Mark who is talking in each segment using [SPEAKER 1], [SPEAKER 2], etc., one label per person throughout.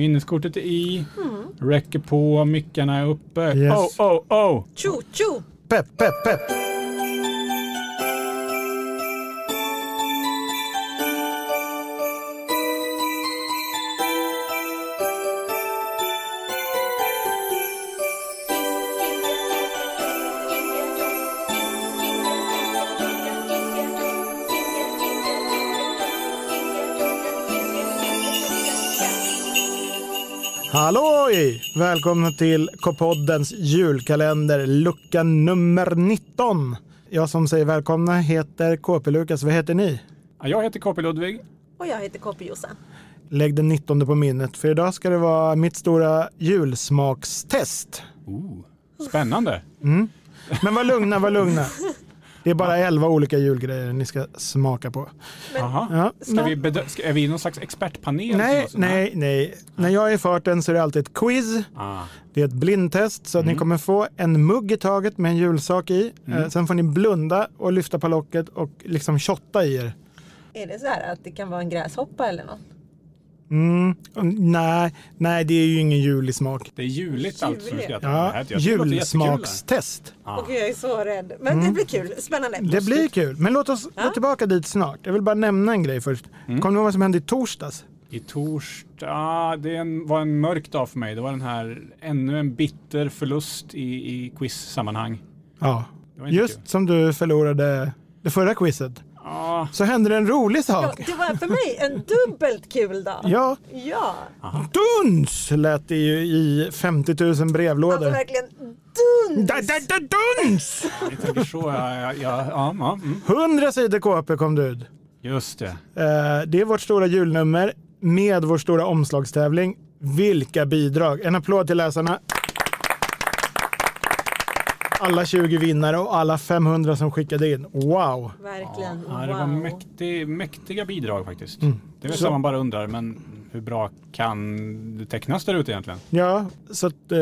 [SPEAKER 1] Minneskortet är i, räcker på, mickarna är uppe.
[SPEAKER 2] Yes.
[SPEAKER 1] Oh, oh, oh!
[SPEAKER 3] Tjo, tjo!
[SPEAKER 2] Pepp, pepp, pepp. Halloj! Välkomna till K-poddens julkalender, lucka nummer 19. Jag som säger välkomna heter KP Lukas. Vad heter ni?
[SPEAKER 1] Ja, Jag heter KP Ludvig.
[SPEAKER 3] Och jag heter KP Jossan.
[SPEAKER 2] Lägg den 19 på minnet, för idag ska det vara mitt stora julsmakstest.
[SPEAKER 1] Ooh. Spännande!
[SPEAKER 2] Men var lugna, var lugna. Det är bara 11 olika julgrejer ni ska smaka på.
[SPEAKER 1] Aha.
[SPEAKER 2] Ja,
[SPEAKER 1] Ska vi bedö- ska, är vi någon slags expertpanel?
[SPEAKER 2] Nej,
[SPEAKER 1] Som-
[SPEAKER 2] nej, nej. När jag är i farten så är det alltid ett quiz.
[SPEAKER 1] Ah.
[SPEAKER 2] Det är ett blindtest så att
[SPEAKER 1] Mm.
[SPEAKER 2] ni kommer få en mugg i taget med en julsak i. Eh, Sen får ni blunda och lyfta på locket och liksom shotta i er.
[SPEAKER 3] Är det så här att det kan vara en gräshoppa eller något?
[SPEAKER 2] Mm. mm, Nej, nej, det är ju ingen julig smak.
[SPEAKER 1] Det är juligt alltså.
[SPEAKER 3] Juligt.
[SPEAKER 1] ska jag ta det
[SPEAKER 2] Ja,
[SPEAKER 1] här till. Jag tycker det låter jättekul där.
[SPEAKER 2] julsmakstest.
[SPEAKER 1] Ah.
[SPEAKER 3] Och jag är så rädd. Men det blir kul. Spännande.
[SPEAKER 2] Det blir kul, men låt oss gå tillbaka dit snart. Jag vill bara nämna en grej först.
[SPEAKER 1] Mm.
[SPEAKER 2] Kommer ni ihåg vad som hände i torsdags?
[SPEAKER 1] I torsdag, ah, det är en, var en mörk dag för mig. Det var den här, ännu en bitter förlust i, i quiz-sammanhang.
[SPEAKER 2] Ja,
[SPEAKER 1] Det var inte
[SPEAKER 2] just
[SPEAKER 1] kul.
[SPEAKER 2] som du förlorade det förra quizet.
[SPEAKER 1] Ah,
[SPEAKER 2] Så hände det en rolig
[SPEAKER 3] Ja,
[SPEAKER 2] sak.
[SPEAKER 3] det var för mig en dubbelt kul dag.
[SPEAKER 2] Ja,
[SPEAKER 3] Ja.
[SPEAKER 2] duns lät det ju i 50 000
[SPEAKER 3] Alltså
[SPEAKER 2] brevlådor.
[SPEAKER 3] verkligen duns!
[SPEAKER 2] Da, da, da, duns!
[SPEAKER 1] jag tänker så. Ja, ja, ja, ja, ja, mm.
[SPEAKER 2] 100 sidor KP kom det ut.
[SPEAKER 1] Just det.
[SPEAKER 2] Eh, Det är vårt stora julnummer med vår stora omslagstävling. Vilka bidrag! En applåd till läsarna. Alla 20 vinnare och alla 500 som skickade in. Wow!
[SPEAKER 3] Verkligen.
[SPEAKER 1] Ja, det var
[SPEAKER 3] wow.
[SPEAKER 1] mäktig, mäktiga bidrag faktiskt.
[SPEAKER 2] Mm.
[SPEAKER 1] Det är väl så man bara undrar, men hur bra kan det tecknas där ute egentligen?
[SPEAKER 2] Ja, så att, eh,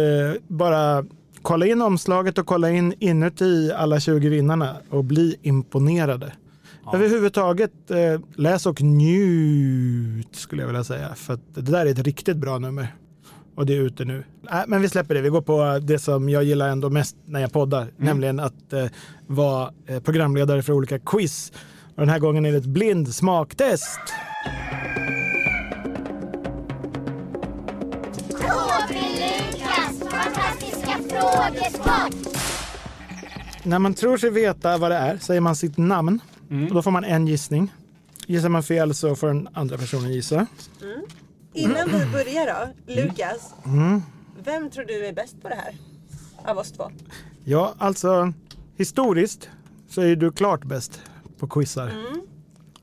[SPEAKER 2] bara kolla in omslaget och kolla in inuti alla 20 vinnarna och bli imponerade. Överhuvudtaget, eh, läs och njut skulle jag vilja säga. För att det där är ett riktigt bra nummer. Och det är ute nu. Nej, men vi släpper det. Vi går på det som jag gillar ändå mest när jag poddar. Nämligen att eh, vara eh, programledare för olika quiz. Och den här gången är det ett blind smaktest.
[SPEAKER 4] KB Lukas fantastiska frågesport.
[SPEAKER 2] När man tror sig veta vad det är säger man sitt namn. Och då får man en gissning. Gissar man fel så får den andra personen gissa.
[SPEAKER 3] Innan vi börjar då, Lukas. Vem tror du är bäst på det här? Av oss två.
[SPEAKER 2] Ja, alltså historiskt så är du klart bäst på quizar.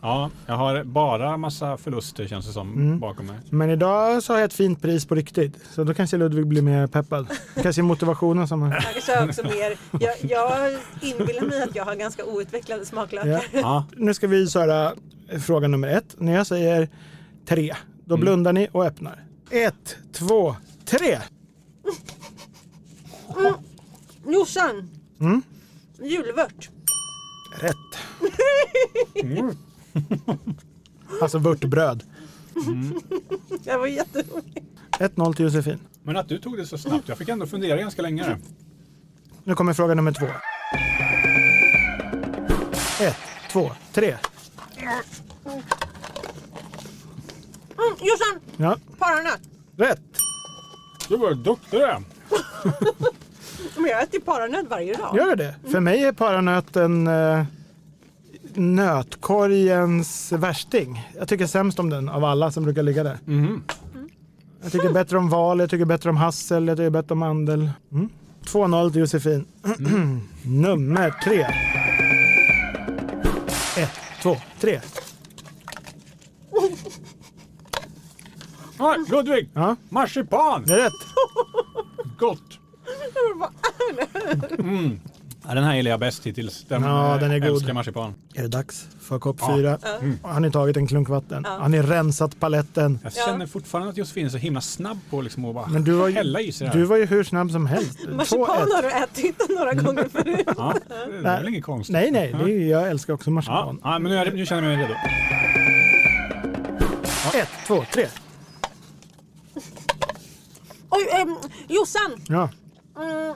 [SPEAKER 1] Ja, jag har bara massa förluster känns det som
[SPEAKER 2] Mm.
[SPEAKER 1] bakom mig.
[SPEAKER 2] Men idag så har jag ett fint pris på riktigt. Så då kanske Ludvig blir mer peppad. Kanske motivationen som...
[SPEAKER 3] Jag kanske har också mer. Jag, jag inbillar mig att jag har ganska outvecklade smaklökar.
[SPEAKER 2] Ja.
[SPEAKER 1] Ja,
[SPEAKER 2] Nu ska vi köra fråga nummer ett. När jag säger tre, då blundar ni och öppnar. Ett, två, tre!
[SPEAKER 3] Jossan! Julvört.
[SPEAKER 2] Rätt. Alltså vörtbröd.
[SPEAKER 3] Det var jätteroligt.
[SPEAKER 2] 1-0 till Josefin.
[SPEAKER 1] men att du tog det så snabbt. Jag fick ändå fundera ganska länge.
[SPEAKER 2] Nu kommer fråga nummer två. Ett, två, tre.
[SPEAKER 3] Mm, Jossan!
[SPEAKER 2] Ja,
[SPEAKER 3] Paranöt.
[SPEAKER 2] rätt.
[SPEAKER 1] Du var duktig du är.
[SPEAKER 3] Men jag äter ju paranöt varje dag.
[SPEAKER 2] Gör du det? För mig är paranöten eh, nötkorgens värsting. Jag tycker sämst om den av alla som brukar ligga där. Jag tycker bättre om val, jag tycker bättre om hassel, jag tycker bättre om mandel. Mm. 2-0 till Josefin. nummer tre. Ett, två, tre.
[SPEAKER 1] Ah, Ludvig!
[SPEAKER 2] Ja,
[SPEAKER 1] Marsipan!
[SPEAKER 2] det är rätt.
[SPEAKER 1] Gott! Ja, den här gillar jag bäst hittills. Den,
[SPEAKER 2] Ja,
[SPEAKER 1] eh,
[SPEAKER 2] den är god.
[SPEAKER 1] älskar marsipan.
[SPEAKER 2] Är det dags för kopp fyra? Har ni tagit en klunk vatten? Har ni rensat paletten?
[SPEAKER 1] Jag känner fortfarande att Josefin är så himla snabb på liksom att bara
[SPEAKER 2] Men du var,
[SPEAKER 1] hälla i sig
[SPEAKER 2] ju,
[SPEAKER 1] det här.
[SPEAKER 2] du var ju hur snabb som helst.
[SPEAKER 3] Marsipan
[SPEAKER 2] 2-1.
[SPEAKER 3] har du ätit några
[SPEAKER 1] Mm.
[SPEAKER 3] gånger förut.
[SPEAKER 1] Ja, det är väl inget konstigt.
[SPEAKER 2] Nej, nej, det är, ju- jag älskar också
[SPEAKER 1] Ja,
[SPEAKER 2] marsipan.
[SPEAKER 1] ja, men nu, är, nu känner jag mig redo.
[SPEAKER 2] Ett, två, tre.
[SPEAKER 3] Oj, ehm, Jossan!
[SPEAKER 2] Ja.
[SPEAKER 3] Mm,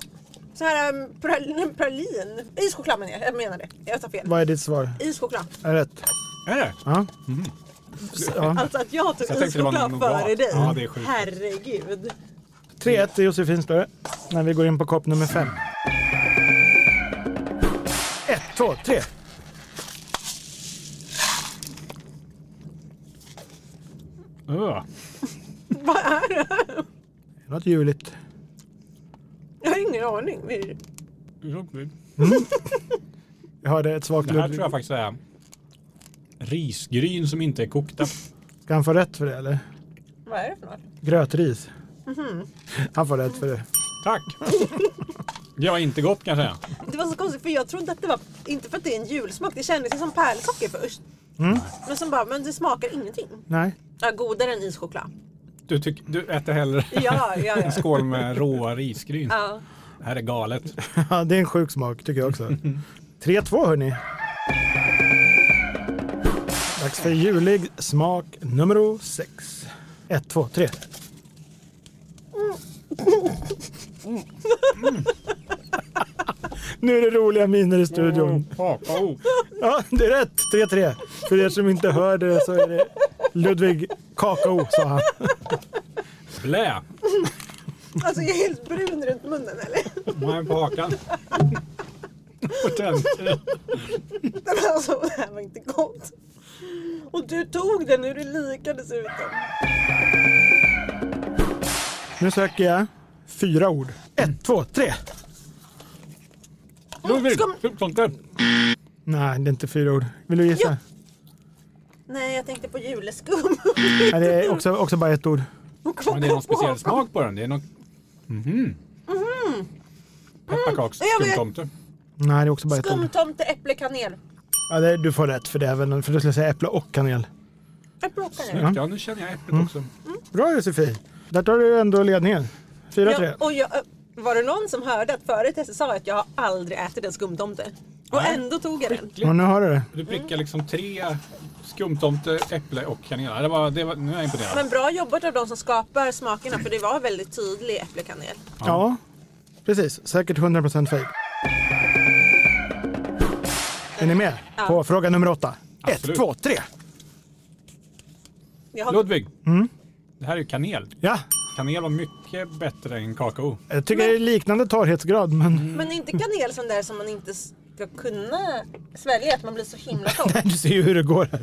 [SPEAKER 3] så här, ehm, pral- pralin. Ischoklad menar jag. Jag menar det. Jag tar fel.
[SPEAKER 2] Vad är ditt svar?
[SPEAKER 3] Ischoklad.
[SPEAKER 2] Är rätt?
[SPEAKER 1] Är det?
[SPEAKER 2] Ja.
[SPEAKER 1] Mm.
[SPEAKER 2] S- Ja.
[SPEAKER 3] Alltså att jag tog
[SPEAKER 1] Så jag tänkte det var
[SPEAKER 3] ischoklad
[SPEAKER 1] nougat.
[SPEAKER 3] före dig.
[SPEAKER 1] Ja, det är sjukt.
[SPEAKER 3] Herregud.
[SPEAKER 2] 3-1 till Josefin Större. När vi går in på kopp nummer fem. Ett, två, tre.
[SPEAKER 1] Öh.
[SPEAKER 3] Vad är det?
[SPEAKER 2] Något ljuvligt.
[SPEAKER 3] Jag har ingen aning. Det är-
[SPEAKER 2] Jag hörde ett svagt
[SPEAKER 1] Det här
[SPEAKER 2] ludd.
[SPEAKER 1] tror jag faktiskt är risgryn som inte är kokta.
[SPEAKER 2] Ska han få rätt för det eller?
[SPEAKER 3] Vad är det för något?
[SPEAKER 2] Grötris.
[SPEAKER 1] Mhm.
[SPEAKER 2] Han får rätt för det.
[SPEAKER 1] Tack! Det var inte gott kan jag säga.
[SPEAKER 3] Det var så konstigt för jag trodde att det var, inte för att det är en julsmak, det kändes ju som pärlsocker först.
[SPEAKER 1] Mm.
[SPEAKER 3] Men som bara, men det smakar ingenting.
[SPEAKER 2] Nej.
[SPEAKER 3] Ja, godare än ischoklad.
[SPEAKER 1] Du, tyck, du äter hellre
[SPEAKER 3] Ja, ja, ja.
[SPEAKER 1] en skål med råa risgryn.
[SPEAKER 3] ja.
[SPEAKER 1] Det här är galet.
[SPEAKER 2] Ja, det är en sjuk smak tycker jag också. 3-2 hörni. Dags för julig smak nummer 6. 1, 2, 3. Nu är det roliga miner i studion.
[SPEAKER 1] Papa, oh.
[SPEAKER 2] Ja, det är rätt. 3-3. För er som inte hör det så är det Ludvig Kakao sa han.
[SPEAKER 1] Blä!
[SPEAKER 3] Alltså jag är helt brun runt munnen eller?
[SPEAKER 1] Man på hakan. Potent.
[SPEAKER 3] Men alltså det här var inte gott. Och du tog den hur du lika dessutom.
[SPEAKER 2] Nu söker jag fyra ord.
[SPEAKER 1] Mm.
[SPEAKER 2] 1, 2, 3.
[SPEAKER 1] Ludvig,
[SPEAKER 3] Ska man-
[SPEAKER 1] tomte.
[SPEAKER 2] Nej, det är inte fyra ord. Vill du gissa?
[SPEAKER 3] Nej, jag tänkte på juleskum.
[SPEAKER 2] Nej, det är också, också bara ett ord.
[SPEAKER 1] Men det är någon speciell smak på den. Det är någon... Mhm.
[SPEAKER 3] Mm. Jag vet.
[SPEAKER 1] Pepparkaksskumtomte.
[SPEAKER 2] Nej, det är också bara ett ord.
[SPEAKER 3] Skumtomte, äpple, kanel.
[SPEAKER 2] Ja, det, du får rätt för det även, för du skulle jag säga äpple och kanel.
[SPEAKER 3] Äpple och kanel.
[SPEAKER 1] Ja, nu känner jag äpplet också.
[SPEAKER 2] Bra Josefin! Där tar du ändå ledningen. 4-3.
[SPEAKER 3] Ja, och jag, eh, var det någon som hörde att förut jag sa att jag har aldrig ätit en skumtomte? Och
[SPEAKER 1] Nej.
[SPEAKER 3] ändå tog jag den.
[SPEAKER 2] Och nu har du det.
[SPEAKER 1] Du prickar liksom tre skumtomte, äpple och kanel. Det var, det var, nu är jag imponerad.
[SPEAKER 3] Men bra jobbat av de som skapar smakerna för det var väldigt tydlig äpplekanel.
[SPEAKER 2] Ja, precis. Säkert 100% fejk. Är ni med på fråga nummer 8? 1,
[SPEAKER 1] Absolut.
[SPEAKER 2] 2, 3.
[SPEAKER 3] Jag har...
[SPEAKER 1] Ludvig.
[SPEAKER 2] Mm.
[SPEAKER 1] Det här är ju kanel.
[SPEAKER 2] Ja,
[SPEAKER 1] Kanel var mycket bättre än kakao.
[SPEAKER 2] jag tycker det är liknande torrhetsgrad, men
[SPEAKER 3] Men inte kanel sån där som man inte ska kunna svälja, att man blir så himla torr.
[SPEAKER 2] du ser ju hur det går. här.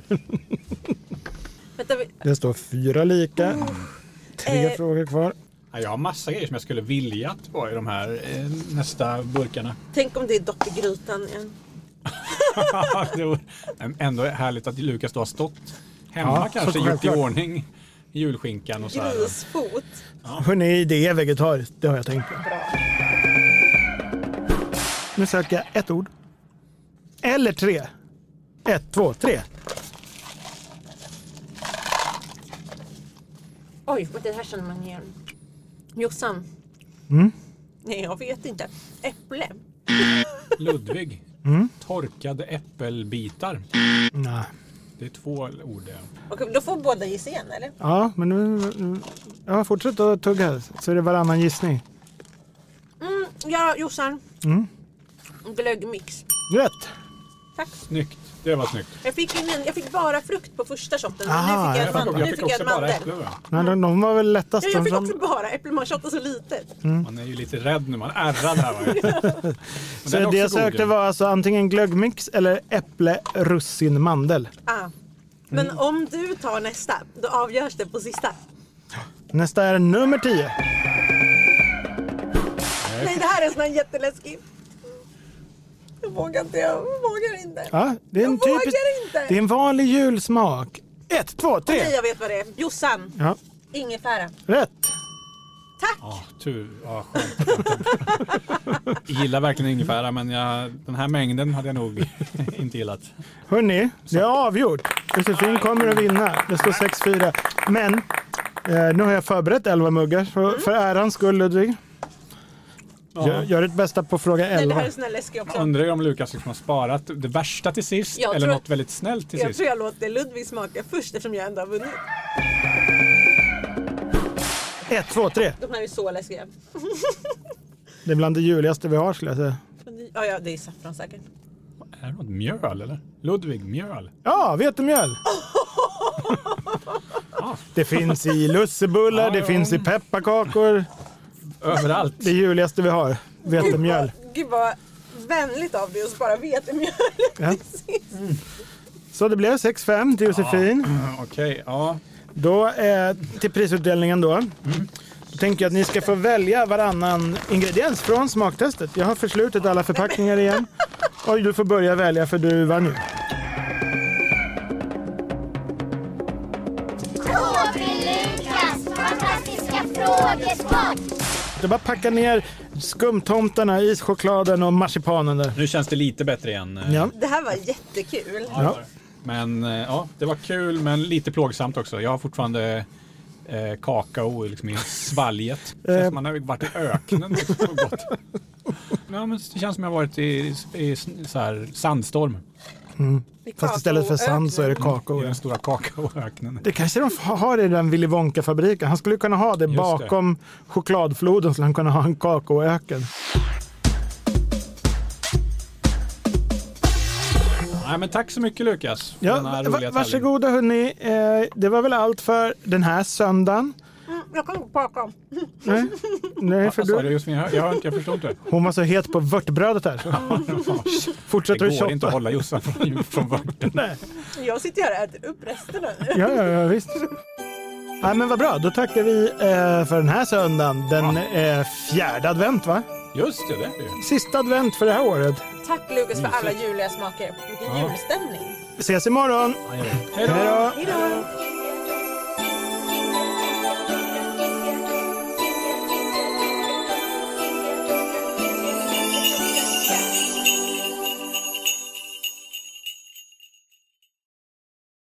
[SPEAKER 3] Vänta, vi-
[SPEAKER 2] Det står fyra lika. Tre
[SPEAKER 3] Oh. Eh.
[SPEAKER 2] frågor kvar.
[SPEAKER 1] Ja, Jag har massa grejer som jag skulle vilja att var i de här eh, nästa burkarna.
[SPEAKER 3] tänk om det är dopp i grytan igen.
[SPEAKER 1] det var ändå härligt att Lukas då har stått hemma
[SPEAKER 2] Ja,
[SPEAKER 1] kanske,
[SPEAKER 2] så
[SPEAKER 1] gjort i
[SPEAKER 2] självklart.
[SPEAKER 1] ordning julskinkan och så här.
[SPEAKER 3] Grisfot.
[SPEAKER 2] Hörni, det är vegetariskt. Det har jag tänkt på.
[SPEAKER 3] Bra.
[SPEAKER 2] Nu söker jag ett ord. Eller tre. Ett, två, tre.
[SPEAKER 3] Oj, men det här känner man igen. Jossan.
[SPEAKER 1] Mm.
[SPEAKER 3] Nej, jag vet inte. Äpple.
[SPEAKER 1] Ludvig.
[SPEAKER 2] Mm.
[SPEAKER 1] Torkade äppelbitar.
[SPEAKER 2] Nej.
[SPEAKER 1] Det är två ord det.
[SPEAKER 3] Okej, då får båda gissa igen eller?
[SPEAKER 2] Ja, men nu... nu- Ja, fortsätt att tugga så är det varannan gissning.
[SPEAKER 3] Mm, ja, Jossan.
[SPEAKER 1] Mm.
[SPEAKER 3] Glöggmix.
[SPEAKER 2] Rätt!
[SPEAKER 3] Tack.
[SPEAKER 1] Snyggt. Det var snyggt.
[SPEAKER 3] Jag fick, ingen, jag fick bara frukt på första shotten. men
[SPEAKER 2] Aha,
[SPEAKER 3] nu
[SPEAKER 1] Jag
[SPEAKER 3] fick jag,
[SPEAKER 1] fick, också-
[SPEAKER 3] en
[SPEAKER 1] jag
[SPEAKER 3] mandel. nu
[SPEAKER 1] fick
[SPEAKER 3] fick jag
[SPEAKER 1] också
[SPEAKER 3] en
[SPEAKER 1] bara
[SPEAKER 3] mandel.
[SPEAKER 1] äpple. va?
[SPEAKER 2] Nej, de, de var väl
[SPEAKER 3] Ja,
[SPEAKER 2] lättast.
[SPEAKER 3] jag
[SPEAKER 2] De
[SPEAKER 3] fick
[SPEAKER 2] som,
[SPEAKER 3] också bara äpple, man shottar så litet.
[SPEAKER 1] Man är ju lite rädd när man ärrar här. va? Men
[SPEAKER 2] så
[SPEAKER 1] den är
[SPEAKER 2] det jag
[SPEAKER 1] också god,
[SPEAKER 2] sökte
[SPEAKER 1] ju.
[SPEAKER 2] var alltså antingen glöggmix eller äpple, russin, mandel.
[SPEAKER 3] Ah. Men
[SPEAKER 1] Mm.
[SPEAKER 3] om du tar nästa, då avgörs det på sista.
[SPEAKER 2] Nästa är nummer tio.
[SPEAKER 3] Nej, det här är en sån här jätteläskig. Jag vågar inte, jag vågar inte.
[SPEAKER 2] Ja, det är en
[SPEAKER 3] Jag vågar
[SPEAKER 2] typisk...
[SPEAKER 3] inte.
[SPEAKER 2] Det är en vanlig julsmak. Ett, två, tre!
[SPEAKER 3] Nej, jag vet vad det är. Jossan,
[SPEAKER 2] Ja,
[SPEAKER 3] ingefära.
[SPEAKER 2] rätt!
[SPEAKER 3] Tack!
[SPEAKER 1] Ja, tur. Ja, skönt. jag gillar verkligen ingefära men jag, den här mängden hade jag nog inte gillat.
[SPEAKER 2] Hörni, det är avgjort. Josefin kommer att vinna. Det står 6-4. Men eh, nu har jag förberett 11 muggar. Så
[SPEAKER 3] Mm.
[SPEAKER 2] för ärans skull Ludvig. Gör, gör ditt bästa på fråga
[SPEAKER 3] Nej, det
[SPEAKER 2] 11.
[SPEAKER 3] här är en sån här läskig
[SPEAKER 1] Jag
[SPEAKER 3] också.
[SPEAKER 1] undrar ju om Lukas liksom har sparat det värsta till sist
[SPEAKER 3] Jag
[SPEAKER 1] eller
[SPEAKER 3] tror-
[SPEAKER 1] något väldigt snällt till
[SPEAKER 3] Jag
[SPEAKER 1] sist.
[SPEAKER 3] tror jag låter Ludvig smaka först eftersom jag ändå har vunnit.
[SPEAKER 2] Ett, två, tre.
[SPEAKER 3] De här är så läskiga.
[SPEAKER 2] Det är bland det juligaste vi har skulle jag säga.
[SPEAKER 3] Ja, ja, det är saffran säkert.
[SPEAKER 1] Är det något mjöl eller? Ludvig, mjöl?
[SPEAKER 2] Ja, vetemjöl. Det finns i lussebullar, det finns i pepparkakor.
[SPEAKER 1] Överallt.
[SPEAKER 2] Det juligaste vi har, vetemjöl.
[SPEAKER 3] Gud vad vänligt av dig att spara vetemjöl.
[SPEAKER 2] Ja. Så det blev 6-5 till Josefin.
[SPEAKER 1] Okej, ja.
[SPEAKER 2] Då eh, till prisutdelningen då. Då tänker jag att ni ska få välja varannan ingrediens från smaktestet. Jag har förslutit alla förpackningar igen. Oj, du får börja välja för du vann ju.
[SPEAKER 4] KB Lukas fantastiska frågesport.
[SPEAKER 2] Det är bara att packa ner skumtomtarna, ischokladen och marsipanen där.
[SPEAKER 1] Nu känns det lite bättre igen. eh,
[SPEAKER 2] Ja.
[SPEAKER 3] Det här var jättekul.
[SPEAKER 1] Ja. det var det. Men eh, ja, det var kul men lite plågsamt också. Jag har fortfarande eh, kakao liksom i svalget. Det känns som man har varit i öknen. Det är så gott. Ja, men det känns som jag har varit i, i så här, sandstorm.
[SPEAKER 2] Fast istället för sand så är det
[SPEAKER 1] I
[SPEAKER 2] kakao.
[SPEAKER 1] den stora kakaoöknen.
[SPEAKER 2] Oh, Det kanske de har i den Willy Wonka-fabriken. Han skulle kunna ha det
[SPEAKER 1] det.
[SPEAKER 2] bakom chokladfloden. Skulle han kunna ha en kakaoöken.
[SPEAKER 1] Nej, men tack så mycket Lukas. för
[SPEAKER 2] Ja,
[SPEAKER 1] den här
[SPEAKER 2] va-
[SPEAKER 1] roliga tävlingen.
[SPEAKER 2] varsågoda hörni. Eh, det var väl allt för den här söndagen.
[SPEAKER 3] Mm, jag kan gå bakom.
[SPEAKER 2] Nej, Nej för
[SPEAKER 1] Vad sa du
[SPEAKER 2] du,
[SPEAKER 1] Josefin? Jag, jag, hör inte- jag förstår inte.
[SPEAKER 2] hon var så het på vörtbrödet här.
[SPEAKER 1] Det
[SPEAKER 2] Fortsätter att
[SPEAKER 1] går inte att
[SPEAKER 2] shoppa.
[SPEAKER 1] hålla Jossan från, från vörten.
[SPEAKER 3] Jag sitter här och äter upp resten nu.
[SPEAKER 2] Ja, ja, ja, visst. Nej, men vad bra, då tackar vi eh, för den här söndagen. Den eh, fjärde advent, va?
[SPEAKER 1] Just det, det är det ju.
[SPEAKER 2] Sista advent för det här året.
[SPEAKER 3] Tack Lukas för alla juliga smaker. Vilken julstämning.
[SPEAKER 2] Ses imorgon.
[SPEAKER 1] Ja, jag vet. Hej då!
[SPEAKER 2] Hej då!
[SPEAKER 3] Hejdå!
[SPEAKER 4] Vilken